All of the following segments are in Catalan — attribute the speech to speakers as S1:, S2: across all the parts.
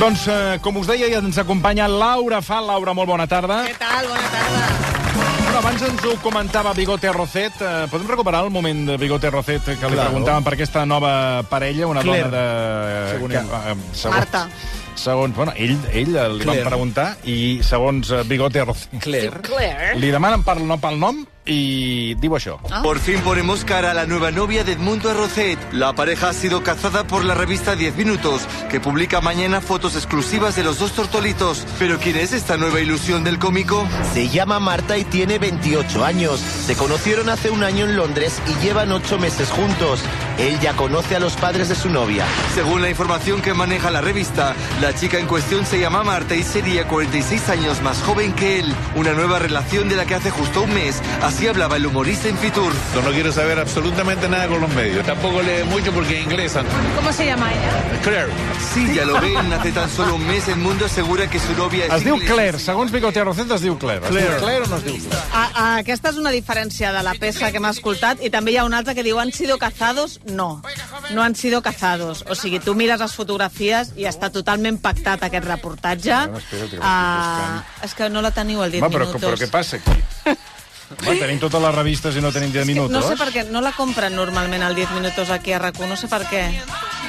S1: Doncs, eh, com us deia, ja ens acompanya Laura Fa. Laura, molt bona tarda.
S2: Què tal? Bona tarda.
S1: Però abans ens ho comentava Bigote Rocet. Eh, podem recuperar el moment de Bigote Rocet que li
S3: Claro.
S1: preguntàvem per aquesta nova parella, una
S3: Claire,
S1: dona de...
S3: segons ell.
S1: eh, segons,
S2: Marta.
S1: Segons, bueno, ell, ell eh, li van
S3: Claire.
S1: preguntar i segons eh, Bigote Rocet
S3: Claire.
S2: Claire.
S1: li demanen pel nom, pel nom i diu això.
S4: Por fin ponemos cara a la nueva novia de Edmundo Arrocet. La pareja ha sido cazada por la revista 10 Minutos, que publica mañana fotos exclusivas de los dos tortolitos. Pero ¿quién es esta nueva ilusión del cómico?
S5: Se llama Marta y tiene 28 años. Se conocieron hace un año en Londres y llevan 8 meses juntos. Él ya conoce a los padres de su novia.
S4: Según la información que maneja la revista, la chica en cuestión se llama Marta y sería 46 años más joven que él. Una nueva relación de la que hace justo un mes. Así hablaba el humorista en Fitur.
S6: No, no quiero saber absolutamente nada con los medios. Tampoco lee mucho porque es inglesa.
S7: ¿Cómo se llama ella?
S6: Claire.
S4: Sí, ya lo ven, hace tan solo un mes Edmundo asegura que su novia es
S1: Es diu
S4: inglesa.
S1: Claire, segons Bigote Rocet es diu Claire. Claire. Es diu Claire o no es diu Claire?
S2: A, a, aquesta és una diferència de la peça que hem escoltat i també hi ha una altra que diu han sido cazados? No, no han sido cazados. O sigui, tu mires les fotografies i està totalment pactat aquest reportatge.
S1: espera't, que ho estic
S2: Ah, és que no la teniu al dit
S1: Home, però,
S2: minutos.
S1: però què passa aquí? Home, tenim totes les revistes i no tenim 10 minuts.
S2: No sé per què, no la compren normalment al 10 minutos aquí a RAC1, no sé per què.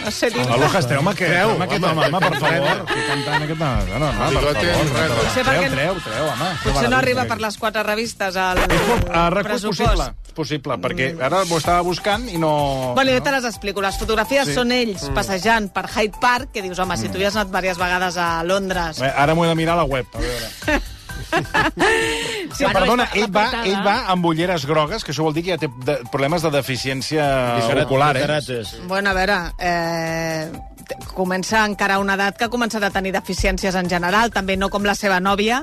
S2: No sé dir
S1: Aloha, esteu-me que... Treu, home, aquest home, per favor.
S3: favor.
S1: Estic cantant aquest home. No, no, home, per
S3: Bigote,
S1: favor.
S3: res.
S2: Potser
S1: Treu,
S2: perquè-
S1: treu, treu, home.
S2: Potser no arriba per les quatre revistes al
S1: A RAC1 és
S2: pressupost.
S1: possible, és possible, perquè ara ho estava buscant i no... Mm.
S2: Bueno, jo te les explico. Les fotografies sí. són ells passejant per Hyde Park, que dius, home, si tu hi has anat diverses vegades a Londres...
S1: Bé, Ara m'ho he de mirar a la web. A veure.
S2: Sí,
S1: No, perdona,
S7: és la
S1: ell va,
S7: portada.
S1: ell va amb ulleres grogues, que això vol dir que ja té de, problemes de deficiència
S3: Discarat-
S1: ocular, eh?
S3: discarates.
S2: Bueno, a veure, eh, t- comença a encarar una edat que ha començat a tenir deficiències en general, també no com la seva nòvia,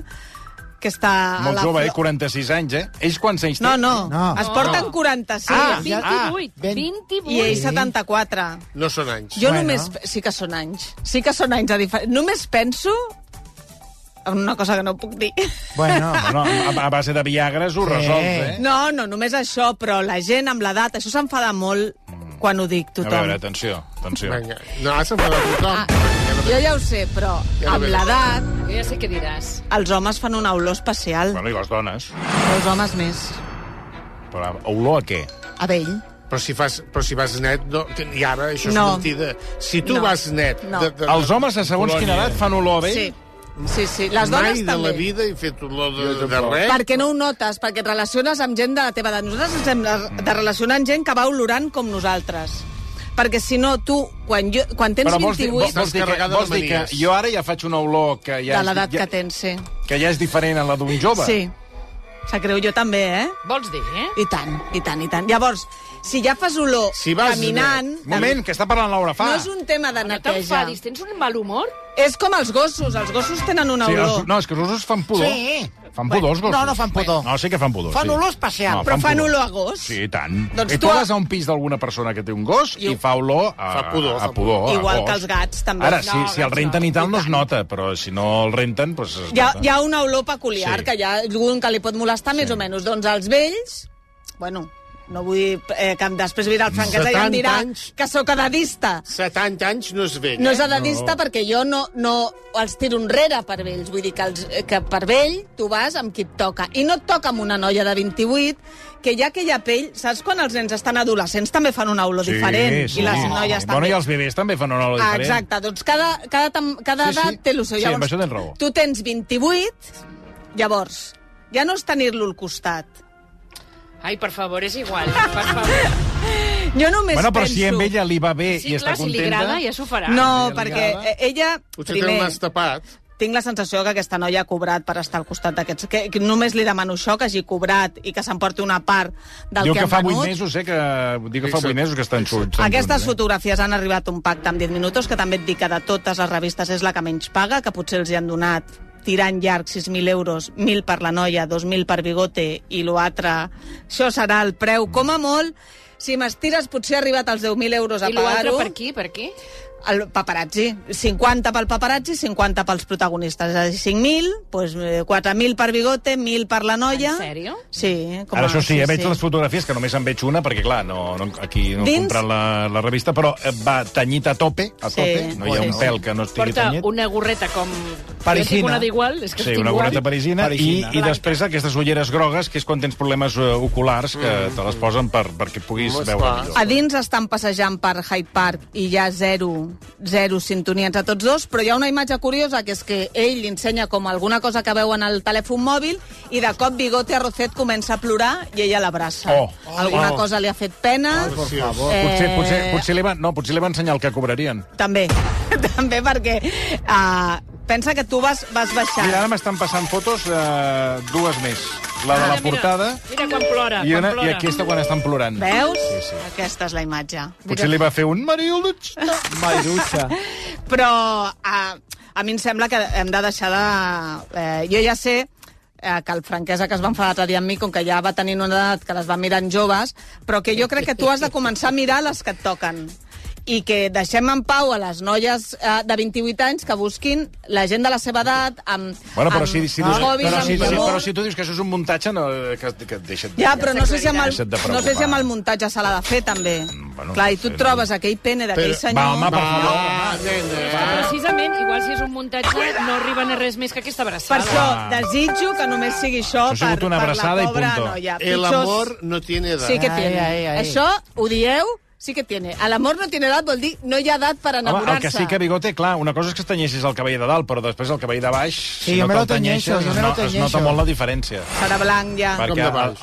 S2: que està... a
S1: Molt
S2: Ah, la
S1: jove, eh?
S2: flor-
S1: 46 anys, eh? Ells quants anys
S2: No, no,
S8: No.
S2: es porten 46
S1: Ah, ja-
S7: 28.
S8: ben-
S7: 28.
S2: i ell 74.
S9: No són anys.
S2: Jo
S8: Bueno.
S2: només... Sí que són anys. Sí que són anys. A difer... Només penso en una cosa que no puc dir.
S8: Bueno,
S1: No, a, a base de Viagres ho resols, eh?
S2: No, no, només això, però la gent amb l'edat, això s'enfada molt quan ho dic
S1: A
S2: tothom.
S1: veure, atenció, atenció.
S9: Vinga. No, has enfadat
S2: Ah.
S9: tothom. Ja no
S2: Jo ja ho sé, però
S9: Ja no
S2: amb
S9: ve.
S2: l'edat
S7: Jo ja sé què diràs.
S2: els homes fan una olor especial,
S1: Bueno, i les dones?
S2: però els homes més.
S1: Però olor a què?
S2: A vell.
S9: Però si, fas, però si vas net, no, i ara això és
S2: No.
S9: mentida. Si tu
S2: No.
S9: vas net...
S2: No.
S1: Els homes, a segons quina edat, fan olor a vell?
S2: Sí. Sí, sí. Les dones
S9: Mai de
S2: també.
S9: la vida he fet olor de,
S3: Jo
S9: de
S3: tampoc.
S9: res.
S2: Perquè no ho notes, perquè et relaciones amb gent de la teva edat. Nosaltres ens hem de- de relacionar amb gent que va olorant com nosalres. Perquè si no, tu, quan, jo, quan tens
S1: Però vols dir, vols,
S2: 28...
S1: vols, dir que,
S9: Estàs carregada
S1: vols
S9: de
S1: dir que
S9: manies.
S1: jo ara ja faig una olor que ja,
S2: de
S1: és,
S2: l'edat
S1: ja,
S2: que tens, sí.
S1: que ja és diferent a la d'un jove?
S2: Sí. Se creu jo també, eh?
S7: Vols dir, eh?
S2: I tant, i tant, i tant. Llavors, si ja fas olor
S9: Si vas-
S2: caminant... eh,
S1: Un Moment, que està parlant Laura Fa.
S2: No és un tema de
S7: No
S2: neteja.
S7: t'enfadis, tens un mal humor?
S2: és com els gossos. Els gossos tenen una
S1: Sí,
S2: olor.
S1: els, no, és que els ossos fan pudor.
S8: Sí.
S1: Fan pudor, els gossos.
S8: No, no fan pudor.
S1: No, sí que fan pudor.
S8: Fan
S1: sí.
S8: olor especial.
S1: No,
S2: Però fan olor a gos.
S1: Sí, i tant.
S2: Doncs
S1: I
S2: tu
S1: tu
S2: a-
S1: vas a un pis d'alguna persona que té un gos i, fa olor a,
S9: Fa pudor,
S1: a
S9: fa
S1: pudor. a
S2: Igual
S1: gos.
S2: que els gats, també.
S1: Ara,
S2: No,
S1: si, si el
S7: gats
S1: renten i tal,
S2: I
S1: no es
S2: tant.
S1: nota, però si no el renten, doncs es
S2: Hi ha,
S1: nota.
S2: hi ha una olor
S1: Sí.
S2: peculiar sí. que hi ha algun que li pot molestar sí. més o menys. Doncs els vells, bueno, no vull dir eh, que després vindrà el Franquesa i em
S9: 70
S2: dirà
S9: anys.
S2: que sóc edadista.
S9: 70 anys no eh? és vell.
S2: No és edadista no. perquè jo no, no els tiro enrere per vells. Vull dir que, els, que per vell tu vas amb qui et toca. I no et toca amb una noia de 28 que ja aquella pell... Saps quan els nens estan adolescents també fan una olor diferent? I les noies també.
S1: Bueno, i els bebès també fan una olor
S2: Ah,
S1: diferent.
S2: Exacte, doncs cada, cada, tam- cada
S1: Sí, sí.
S2: edat té el seu.
S1: Sí, amb això tens raó.
S2: Tu tens 28, llavors, ja no és tenir-lo al costat.
S7: Ai, per favor, és igual. Per favor.
S2: Jo només
S1: Bueno, però
S2: penso...
S1: si a ella li va bé
S7: Sí,
S1: i
S7: clar,
S1: està
S7: si li
S1: contenta...
S7: agrada, ja s'ho farà.
S2: No, perquè eh, ella...
S9: Potser té el nas tapat.
S2: tinc la sensació que aquesta noia ha cobrat per estar al costat d'aquests... Que, que només li demano això, que hagi cobrat i que s'emporti una part del
S1: Diu
S2: que
S1: que
S2: han
S1: fa 8
S2: venut.
S1: mesos, eh, que... Diu que fa 8
S9: Fixa't.
S1: mesos que estan junts.
S2: Aquestes fotografies han arribat a un pacte amb 10 minuts, que també et dic que de totes les revistes és la que menys paga, que potser els hi han donat tirant llarg 6.000 euros, 1.000 per la noia, 2.000 per bigote i l'altre... Això serà el preu, com a molt... Si m'estires, potser ha arribat als 10.000 euros a
S7: I l'altre
S2: pagar-ho.
S7: per aquí, per aquí?
S2: el paparazzi. 50 pel paparazzi, 50 pels protagonistes. És a dir, 5.000, doncs, eh, 4.000 per Bigote, 1.000 per la noia...
S7: En sèrio?
S2: Sí.
S1: Ara, això sí, eh, veig les fotografies, que només en veig una, perquè, clar, no, no, aquí no he
S2: Dins-
S1: comprat la, la revista, però eh, va tenyit a tope, a
S2: Sí.
S1: tope. No hi ha
S7: Sí,
S1: un
S7: sí.
S1: pèl que no estigui
S7: Porta
S1: tenyit.
S7: una gorreta com... Jo
S3: Parisina.
S7: tinc una d'igual, és que
S1: Sí,
S7: estic
S1: una
S7: igual.
S1: gorreta parisina,
S3: Parisina.
S1: I, i després aquestes ulleres grogues, que és quan tens problemes eh, oculars, que te les posen per, perquè puguis
S9: Molt
S1: veure
S9: clar.
S2: A
S1: millor.
S2: dins estan passejant per Hyde Park i hi ha zero, zero sintonies a tots dos, però hi ha una imatge curiosa, que és que ell li ensenya com alguna cosa que veu en el telèfon mòbil i de cop Bigote Arrocet comença a plorar i ella l'abraça.
S1: Oh.
S2: Alguna
S1: Oh.
S2: cosa li ha fet pena.
S9: Por favor.
S2: Eh,
S1: Potser, potser, potser, li va, no, potser li va ensenyar el que cobrarien.
S2: També, també perquè uh, pensa que tu vas, vas baixar.
S1: Mira, ara m'estan passant fotos, eh, dues més. La de
S2: Ah,
S1: la
S7: Ah, Mira,
S1: portada
S7: Mira, mira quan plora,
S1: i, una,
S7: quan plora.
S1: i aquesta quan estan plorant.
S2: Veus?
S1: Sí, sí.
S2: Aquesta és la imatge.
S1: Potser li va fer un marioluig.
S3: Mairutxa.
S2: Però a, a mi em sembla que hem de deixar de... Eh, jo ja sé eh, que el franquesa que es va enfadar l'altre dia amb mi, com que ja va tenir una edat que les va mirant joves, però que jo crec que tu has de començar a mirar les que et toquen i que deixem en pau a les noies eh, de 28 anys que busquin la gent de la seva edat amb,
S1: Bueno, però
S2: amb
S1: si, si, dius,
S2: hobbies,
S1: però,
S2: amb
S1: si, si,
S2: humor.
S1: però si tu dius que això és un muntatge, no, que, que deixa't...
S2: Ja, però no sé si amb el,
S1: Deixa't de
S2: no sé si
S1: preocupar. Mm,
S2: amb el muntatge se l'ha de fer, també.
S1: bueno,
S2: Bueno,
S1: no
S2: Clar, i tu
S1: sé,
S2: et trobes aquell pene d'aquell
S9: Però-
S2: senyor...
S1: Va, home, per
S9: Va,
S1: favor.
S9: va, nena. eh?
S7: Precisament, igual si és un muntatge, no arriben a res més que aquesta
S2: Per
S7: abraçada.
S2: això desitjo que només sigui això,
S1: Ah. Això ha sigut
S2: per,
S1: una
S2: per la
S1: abraçada i
S2: pobra
S1: punto.
S2: noia.
S9: El
S2: Pitjors-
S9: amor no tiene edad.
S2: Sí que
S3: Ai,
S2: tiene.
S3: ai, ai.
S2: Això ho dieu? Sí que tiene. A l'amor no tiene edat vol dir no hi ha edat per
S1: Home, el
S2: enamorar-se.
S1: que sí que bigote, clar, una cosa és que es tenyeixis el cabell de dalt, però després el cabell de baix,
S3: Sí,
S1: si
S3: jo
S1: no
S3: me lo
S1: te'l tenyeixes,
S3: teñeixo, jo
S1: es,
S3: me lo Ah.
S1: no, es nota
S3: teñeixo.
S1: molt la diferència.
S2: Serà blanc, ja.
S1: Perquè,
S9: de baix.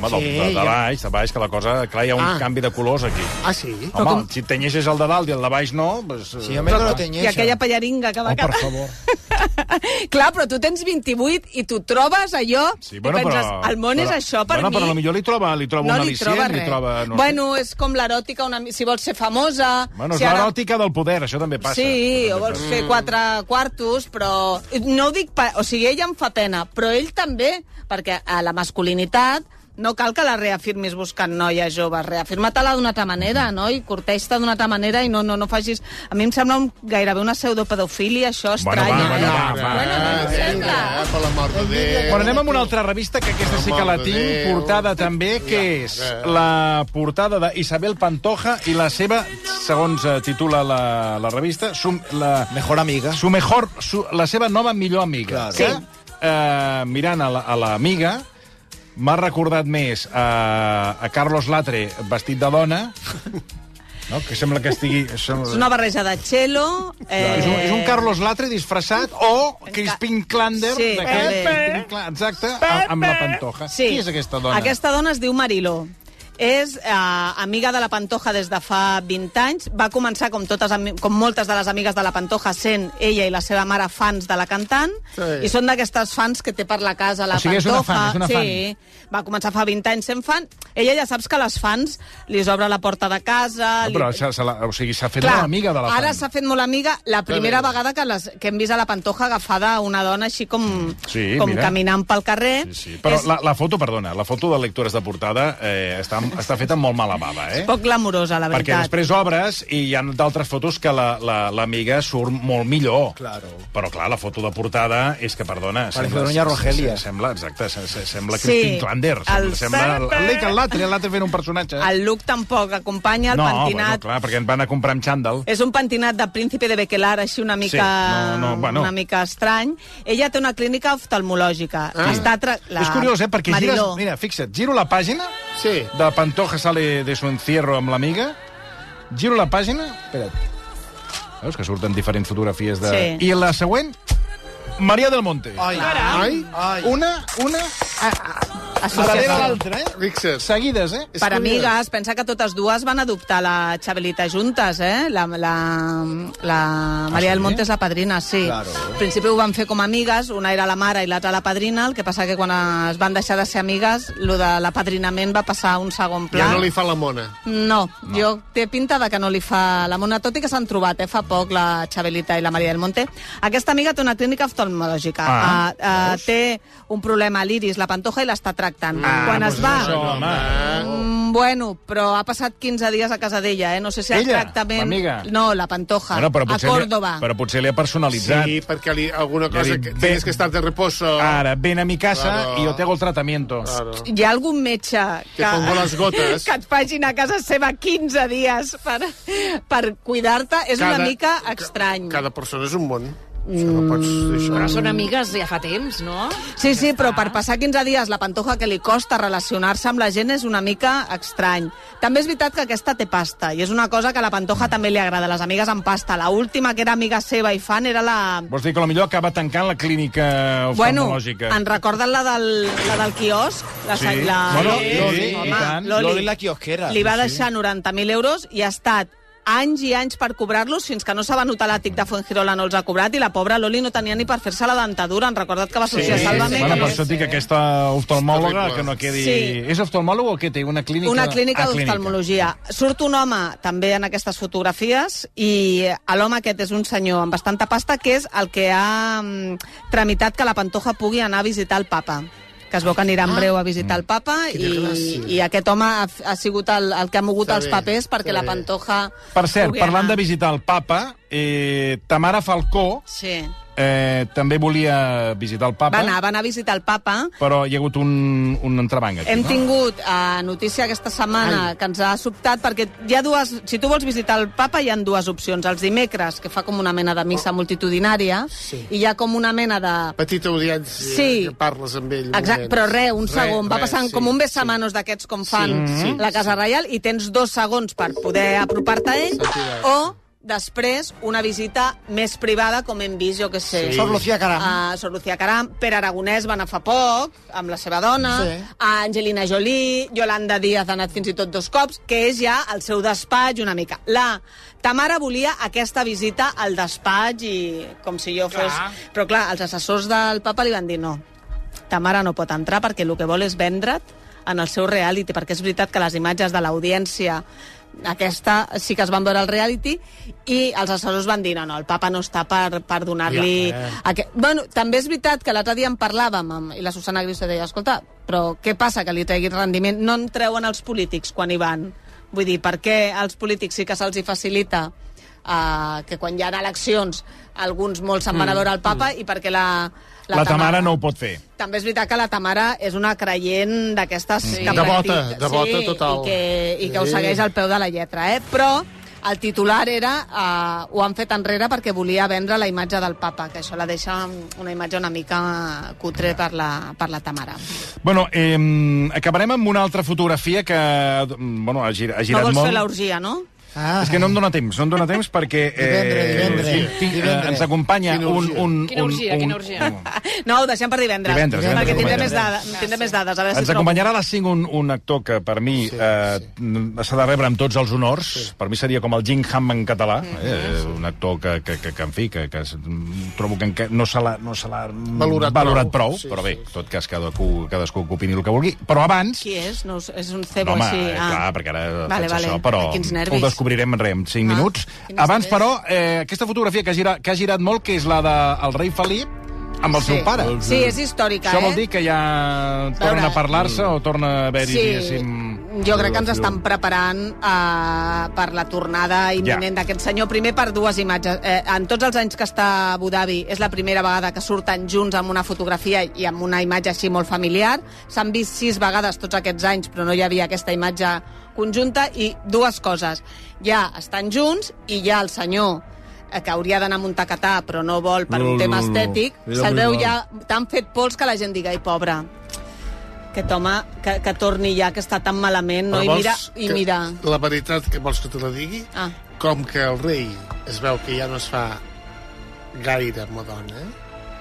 S1: Home, sí,
S3: Sí,
S1: de, de,
S3: ja.
S1: baix, de baix, que la cosa... Clar, hi ha un
S9: Ah.
S1: canvi de colors aquí.
S9: Ah, sí?
S1: Home, si tenyeixes el de dalt i el de baix no... Doncs,
S3: Si yo me lo teñeixo.
S2: I aquella pallaringa que va
S1: Oh, per
S2: cap-
S1: favor.
S2: Clar, però tu tens 28 i tu trobes allò i penses, el món
S1: però,
S2: és això per
S1: bueno,
S2: mi.
S1: Però potser li troba, li troba un
S2: no li
S1: al·licient,
S2: troba
S1: li
S2: res.
S1: troba... No sé.
S2: bueno, és com l'eròtica, una... mi- si vols ser famosa...
S1: bueno és
S2: si ara-
S1: l'eròtica del poder, això també passa.
S2: Sí,
S1: Això també
S2: o vols
S1: passa.
S2: fer quatre quartos, però... No ho dic... Pa... O sigui, ella em fa pena, però ell també, perquè a la masculinitat no cal que la reafirmis buscant noies joves. Reafirma-te-la d'una altra manera, no? I corteix-te d'una altra manera i no, no, no facis... A mi em sembla un, gairebé una pseudopedofília, això
S1: Bueno, va,
S2: estrany.
S1: bueno,
S2: eh?
S1: va, va.
S2: Bueno, a mi em
S9: Vinga,
S2: sembla.
S9: eh, per l'amor de Déu.
S1: Bueno, anem amb una altra revista, que aquesta sí que la
S9: Mare de
S1: tinc,
S9: Déu.
S1: portada també, que és
S9: Ja,
S1: la portada d'Isabel Pantoja i la seva, segons eh, titula la, la revista, su, la,
S3: Mejor amiga.
S1: su mejor, su, la seva nova millor amiga.
S3: Claro.
S1: Que, eh, mirant a la- a l'amiga, m'ha recordat més a, a Carlos Latre vestit de dona, no? que sembla que estigui...
S2: És una barreja de cello... Eh...
S1: És un, és un Carlos Latre disfressat o Crispin Klander,
S2: Sí,
S1: d'aquell-
S2: també.
S1: Crispin Klander, exacte, amb, amb la pantoja.
S2: Sí.
S1: Qui és aquesta dona?
S2: Aquesta dona es diu Mariló. És eh, amiga de la Pantoja des de fa 20 anys. Va començar, com, totes, ami- com moltes de les amigues de la Pantoja, sent ella i la seva mare fans de la cantant.
S9: Sí.
S2: I són d'aquestes fans que té per la casa la
S1: O sigui, és una
S2: Pantoja.
S1: fan, és una
S2: sí. fan. Va començar fa 20 anys sent fan. Ella ja saps que les fans li s'obre la porta de casa...
S1: No,
S2: li-
S1: però se, se la, o sigui, s'ha fet
S2: Clar,
S1: molt amiga de la
S2: ara
S1: fan.
S2: s'ha fet molt amiga la primera
S9: bé.
S2: vegada que, les, que hem vist a la Pantoja agafada una dona així com,
S1: Sí,
S2: com
S1: mira.
S2: caminant pel carrer.
S1: Sí, sí. Però
S2: És-
S1: la, la foto, perdona, la foto de lectures de portada eh, està, està feta amb molt mala bava, eh?
S2: Poc glamurosa, la
S1: Perquè
S2: veritat.
S1: després obres i hi ha d'altres fotos que l'amiga la, l'amiga surt molt millor.
S3: Claro.
S1: Però, clar, la foto de portada és que, perdona...
S3: Parece
S1: sembla-
S3: Doña Rogelia.
S1: se- Sembla, exacte, se- se- sembla
S2: Sí,
S1: sí. Christine Klander.
S2: el
S1: Sembla, sembla el,
S2: Sandberg.
S1: el, el l'altre, l'altre fent un personatge.
S2: El look tampoc acompanya, el
S1: no,
S2: pentinat...
S1: bueno, clar, perquè ens van a comprar amb xandall.
S2: És un pentinat de príncipe de Bequelar, així una mica,
S1: Sí, no, no, bueno.
S2: una mica estrany. Ella té una clínica oftalmològica. Ah. Està tra... la...
S1: És curiós, eh? Perquè gires...
S2: Mariló.
S1: Mira, fixa't, giro la pàgina
S9: Sí.
S1: de Pantoja sale de su encierro amb l'amiga, giro la pàgina... Espera't. Veus que surten diferents fotografies de...
S2: Sí.
S1: I la següent, Maria del Monte.
S3: Ay.
S9: Ai,
S3: Ay.
S1: Una, una, a darrere l'altra, eh?
S9: fixa't.
S1: Seguides, eh?
S9: És
S2: Per
S9: curiós.
S2: amigues, pensa que totes dues van adoptar la Xabelita juntes, eh? La, la, la Maria
S1: Ah, sí?
S2: del Monte és la padrina, sí.
S3: Claro.
S2: Al principi ho van fer com a amigues, una era la mare i l'altra la padrina, el que passa que quan es van deixar de ser amigues, lo de l'apadrinament va passar a un segon pla.
S9: Ja no li fa la mona.
S2: No, no, jo té pinta de que no li fa la mona, tot i que s'han trobat eh, fa poc la Xabelita i la Maria del Monte. Aquesta amiga té una clínica oftalmològica.
S1: Ah,
S2: Ah, ah, té un problema a l'iris, la pantoja, i l'està tra contacten. Ah, Quan es va...
S1: doncs Això, home.
S2: Mm, bueno, però ha passat 15 dies a casa d'ella, eh? No sé si el
S1: Ella?
S2: tractament...
S1: L'amiga?
S2: No, la Pantoja,
S1: Bueno, però
S2: a
S1: potser
S2: Córdoba.
S1: Li, però potser li ha personalitzat.
S9: Sí, perquè li, alguna cosa...
S1: dit,
S9: Que,
S1: ve- Ah,
S9: tienes que estar de reposo.
S1: Ara, ven a mi casa
S9: Claro.
S1: i yo te hago el tratamiento.
S9: Claro.
S2: Hi ha algun metge que,
S9: Te pongo las gotas.
S2: que et facin a casa seva 15 dies per, per cuidar-te? És una mica
S9: ca-
S2: estrany. Mm.
S9: Cada persona és un món. Això no pots... Això...
S7: Però són amigues ja fa temps, no?
S2: Sí, sí, però per passar 15 dies la pantoja que li costa relacionar-se amb la gent és una mica estrany. També és veritat que aquesta té pasta, i és una cosa que a la pantoja també li agrada, les amigues amb pasta. La última que era amiga seva i fan era la...
S1: Vols dir que potser acaba tancant la clínica
S2: Bueno,
S1: oftalmològica?
S2: en recorden la del, la del quiosc? La,
S1: Sí.
S2: la,
S1: Bueno,
S3: Loli,
S1: i
S2: home,
S1: tant.
S2: Loli.
S3: Loli la quiosquera.
S2: Li va deixar 90.000 euros i ha estat anys i anys per cobrar-los fins que no s'ha venut a l'àtic de Fuengirola, no els ha cobrat, i la pobra Loli no tenia ni per fer-se la dentadura. Han recordat que va sortir a Sálvame.
S1: Bueno, per
S2: que no-
S1: això et dic que aquesta oftalmòloga
S9: Terrible.
S1: que no quedi...
S2: Sí.
S1: És oftalmòloga o què té? Una clínica...
S2: Una clínica
S1: Ah,
S2: d'oftalmologia. Surt un home també en aquestes fotografies i eh, l'home aquest és un senyor amb bastanta pasta que és el que ha mm, tramitat que la Pantoja pugui anar a visitar el papa que es veu que anirà en breu a visitar
S1: Mm.
S2: el papa i,
S9: desgràcia.
S2: i aquest home ha, ha sigut el, el que ha mogut
S9: Està
S2: els
S9: bé,
S2: papers perquè
S9: està
S2: la
S9: bé.
S2: Pantoja
S1: Per cert,
S2: pugui
S1: parlant de
S2: anar.
S1: visitar el papa, eh, Tamara Falcó
S2: Sí.
S1: eh, també volia visitar el papa,
S2: Va anar, va anar a visitar el papa
S1: però hi ha hagut un, un entrebanc aquí.
S2: Hem
S1: no?
S2: tingut eh, notícia aquesta setmana que ens ha sobtat, perquè hi ha dues... Si tu vols visitar el papa, hi han dues opcions. Els dimecres, que fa com una mena de
S9: Oh.
S2: missa multitudinària, i hi ha com una mena de...
S9: Petita audiència,
S2: Sí.
S9: que parles amb ell.
S2: Exacte,
S9: moments.
S2: però res, un
S9: Res,
S2: segon. Va
S9: res,
S2: passant
S9: sí,
S2: com un
S9: sí.
S2: besamanos d'aquests com fan
S9: Sí, sí,
S2: la Casa Reial i tens dos segons per poder apropar-te a ell
S9: Sentides.
S2: o després una visita més privada, com hem vist, jo que sé.
S9: Sí.
S3: Sor Lucía Caram.
S2: A Sor Lucía Caram, Pere Aragonès va anar fa poc, amb la seva dona,
S3: Sí.
S2: a Angelina Jolie, Yolanda Díaz ha anat fins i tot dos cops, que és ja el seu despatx una mica. La Tamara volia aquesta visita al despatx i com si jo fos...
S7: Clar.
S2: Però clar, els assessors del papa li van dir no. Tamara no pot entrar perquè el que vol és vendre't en el seu reality, perquè és veritat que les imatges de l'audiència aquesta sí que es van veure al reality i els assessors van dir no, no, el papa no està per, per donar-li...
S9: Ja, eh.
S2: Aquest... Bueno, també és veritat que l'altre dia en parlàvem amb, i la Susana Griso deia, escolta, però què passa que li treguin rendiment? No en treuen els polítics quan hi van. Vull dir, per què als polítics sí que se'ls hi facilita uh, que quan hi ha eleccions alguns molts se'n van a veure el papa i perquè la,
S1: Mm, La, la Tamara no ho pot fer.
S2: també és veritat que la Tamara és una creient d'aquestes... Sí.
S9: De bota, de bota total.
S2: I que, i que ho
S9: Sí.
S2: segueix al peu de la lletra, eh? Però el titular era... Eh, ho han fet enrere perquè volia vendre la imatge del papa, que això la deixa una imatge una mica cutre per la, per la Tamara.
S1: Bueno, eh, acabarem amb una altra fotografia que mm, bueno, ha, gir, ha
S2: No
S1: girat
S2: vols
S1: molt.
S2: fer l'orgia, no?
S3: Ah.
S1: És que no em dóna temps, no em dóna temps perquè... Eh,
S3: Divendres, divendres,
S1: tinc-
S3: divendres.
S1: eh, ens acompanya
S9: Quina
S1: un...
S9: orgia.
S1: un,
S7: Quina
S1: un,
S7: orgia,
S1: un,
S7: quina orgia.
S1: un-
S2: No, ho deixem per divendres.
S1: Divendres, divendres,
S2: perquè tindré,
S1: divendres.
S2: més, dada, tindré més dades. A veure
S1: Ens
S2: si trobo.
S1: acompanyarà a les 5 un, un actor que per mi
S9: Sí,
S1: sí, eh, s'ha de rebre amb tots els honors. Sí. Per mi seria com el Jim Hamm en català. Mm
S2: Mm-hmm.
S1: -hmm. eh, un actor que, que, que, que en fi, que, que es- mm, trobo que enca- no se l'ha no se l'ha, mm,
S9: Valorat
S1: valorat prou, prou
S9: prou. Sí,
S1: sí, però bé,
S9: sí,
S1: en tot cas cadascú, cadascú que opini el que vulgui. Però abans...
S2: Qui és? No, ho sé, és un cebo
S1: No, home, eh,
S2: així. ah.
S1: clar, perquè ara
S2: Vale,
S1: faig
S2: vale.
S1: això, però
S2: Quins
S1: ho
S2: nervis.
S1: descobrirem en, re, en 5
S2: Ah,
S1: minuts.
S2: quin
S1: Abans,
S2: estrès.
S1: però, eh, aquesta fotografia que ha, girat, que ha girat molt, que és la del rei Felip amb el
S2: Sí.
S1: seu pare.
S9: Doncs,
S2: Sí, és històrica,
S1: Això
S2: eh?
S1: vol dir que ja torna a parlar-se
S9: Mm.
S1: o torna a haver-hi,
S2: Sí,
S1: diguéssim...
S2: jo crec que ens estan preparant eh, per la tornada imminent d'aquest senyor. Primer per dues imatges. Eh, en tots els anys que està a Abu Dhabi és la primera vegada que surten junts amb una fotografia i amb una imatge així molt familiar. S'han vist sis vegades tots aquests anys, però no hi havia aquesta imatge conjunta. I dues coses. Ja estan junts i ja el senyor eh, que hauria d'anar a Montacatà, però no vol per
S6: No,
S2: un tema
S6: no, no.
S2: estètic,
S6: Era
S2: se'l
S6: molt
S2: veu
S6: mal.
S2: ja tan fet pols que la gent diga, ai, pobre, que toma, que, que torni ja, que està tan malament, no?
S9: Però
S2: I
S9: vols
S2: mira, i
S9: que-
S2: mira.
S9: La veritat que vols que te la digui?
S2: Ah.
S9: Com que el rei es veu que ja no es fa gaire amb la dona,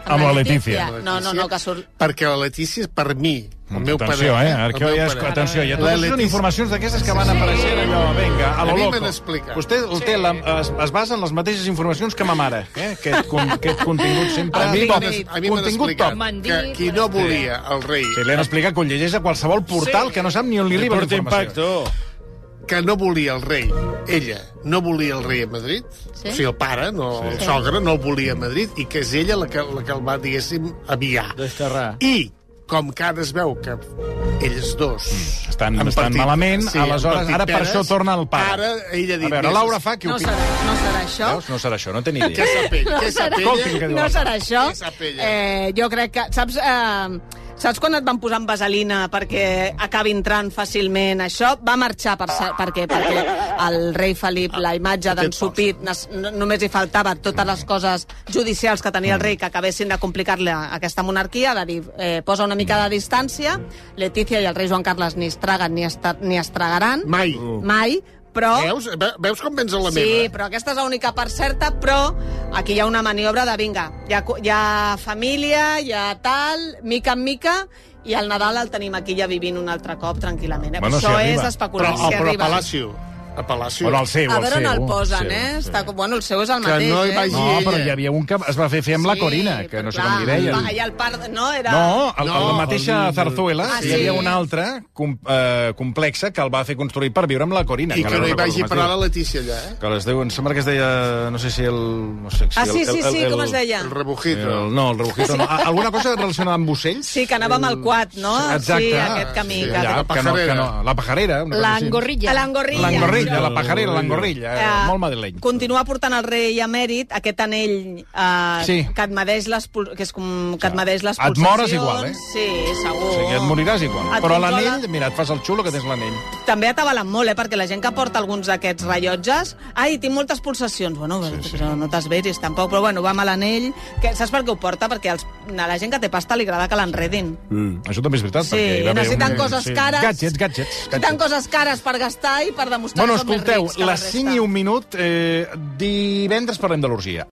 S1: Amb la Letícia.
S2: No, no, no, que surt...
S9: perquè la Letícia, per mi, el meu
S1: atenció,
S9: parer...
S1: eh? Ara que
S9: el meu
S1: ja és,
S9: parer,
S1: atenció, ja
S9: La
S1: totes són
S9: Letícia-
S1: informacions d'aquestes que van apareixent allò, vinga, a
S9: A
S1: lo
S9: mi
S1: loco.
S9: me n'explica.
S1: Vostè el té, la, es, es basa en les mateixes informacions que ma mare, eh? Aquest, con, aquest contingut
S2: Ah,
S1: sempre...
S9: A mi
S1: top.
S9: m'han es- a mi m'han
S1: Contingut
S9: explicat
S1: top.
S7: M'han
S9: que
S7: dit,
S9: qui
S7: m'han
S9: no volia el rei,
S1: Sí, l'han explicat que ho llegeix a qualsevol portal sí. que no sap ni on li arriba la
S6: Deporte
S1: informació.
S6: Impacto.
S9: que no volia el rei, ella no volia el rei a Madrid,
S2: Sí.
S9: o sigui, el pare, no, el sogre, no el volia a Madrid, i que és ella la que, la que el va, diguéssim, aviar.
S3: Desterrar.
S9: I com que ara es veu que ells dos... Mm,
S1: estan- estan malament, aleshores, ara per això torna el pare.
S9: Ara ella ha dit...
S1: A veure,
S9: "Mira,
S1: Laura fa què
S2: No
S1: opina?
S2: serà, no serà això.
S1: Veus? No serà això, no té ni
S9: Que
S1: idea.
S9: s'apella,
S2: No
S9: que
S2: serà,
S1: Escolti'm què
S9: s'apella.
S1: diu.
S2: no serà això.
S9: Què sap ella?
S2: Eh, jo crec que... Saps, eh, saps quan et van posar en vaselina perquè acabi entrant fàcilment això? Va marxar per, sa- per què? Perquè el rei Felip, la imatge d'en Supit, nes- no- només hi faltava totes les coses judicials que tenia el rei que acabessin de complicar-li aquesta monarquia, de dir, eh, posa una mica de distància, Letícia i el rei Joan Carles ni es traguen ni, es, tra- ni es tragaran.
S9: Mai.
S1: Mm.
S2: Mai, però...
S9: Veus? Ve- Veus com vens a la
S2: sí,
S1: eh?
S9: meva?
S2: però aquesta és l'única part certa, però aquí hi ha una maniobra de vinga, hi ha, cu- hi ha família, hi ha tal, mica en mica, i el Nadal el tenim aquí ja vivint un altre cop tranquil·lament. Eh?
S1: Bueno,
S2: Això
S1: si arriba.
S2: és
S9: Però,
S2: especular.
S9: oh,
S2: si
S9: però a
S2: arriba.
S9: Palacio. A Palacio.
S1: Bueno, el seu,
S2: a veure
S1: el
S2: on
S1: seu.
S2: el posen,
S1: seu.
S2: eh? Està, com- bueno, el seu és el
S9: Que
S2: mateix,
S9: no hi
S2: eh?
S9: vagi-
S1: No, però hi havia un que es va fer fer amb la
S2: Sí,
S1: Corina, que
S2: però
S1: no sé
S2: clar,
S1: com li deien.
S2: va- Allà el part... No, era...
S1: No, el, no,
S9: No,
S1: la mateixa
S9: el-
S1: Zarzuela,
S2: Ah,
S1: hi havia
S2: sí?
S1: una altra com, eh, complexa que el va fer construir per viure amb la Corina.
S9: I que
S1: ara
S9: no hi
S1: recordo
S9: vagi
S1: com es
S9: parar
S1: diu.
S9: la Letícia allà, eh?
S1: Que les deu, em sembla que es deia, no sé si el... No sé, si
S2: Ah,
S1: el-
S2: sí,
S1: el-
S2: sí,
S1: el-
S2: sí,
S1: el-
S2: com es deia?
S9: El
S1: El,
S9: rebujito.
S1: no, el rebujito no. A- Alguna cosa relacionada amb ocells?
S2: Sí, que anava amb el quad, no?
S1: Exacte.
S2: Sí, aquest camí.
S9: Sí,
S2: que...
S1: Allà,
S9: La
S1: que no, que
S9: pajarera.
S1: no, la pajarera. Una cosa
S7: La
S1: així.
S7: angorrilla.
S2: L'angorrilla.
S1: L'angorrilla, la pajarera, l'angorrilla. Eh,
S2: Eh,
S1: molt madrileny.
S2: Continua portant el rei emèrit aquest anell eh,
S1: Sí.
S2: que et medeix les, pul- que és com, que et medeix les
S1: Et
S2: pulsacions.
S1: mores igual, eh?
S2: Sí, segur.
S1: O sigui, et moriràs igual.
S2: Et
S1: Però
S2: controla-
S1: l'anell, mira, et fas el xulo que tens l'anell.
S2: També atabalen molt, eh? Perquè la gent que porta alguns d'aquests rellotges... Ai, tinc moltes pulsacions. Bueno, sí, però no t'esveris tampoc. Però bueno, va amb l'anell. Que, saps per què ho porta? Perquè els, a la gent que té pasta li agrada que l'enredin.
S1: Mm. Això també és veritat.
S2: Sí,
S1: perquè hi va haver
S2: necessiten coses cares.
S1: Gadgets, gadgets.
S2: Tant coses cares per gastar i per demostrar
S1: Bueno,
S2: que són més
S1: escolteu,
S2: rics que la
S1: les 5
S2: resta.
S1: i un minut, eh, divendres parlem de l'orgia.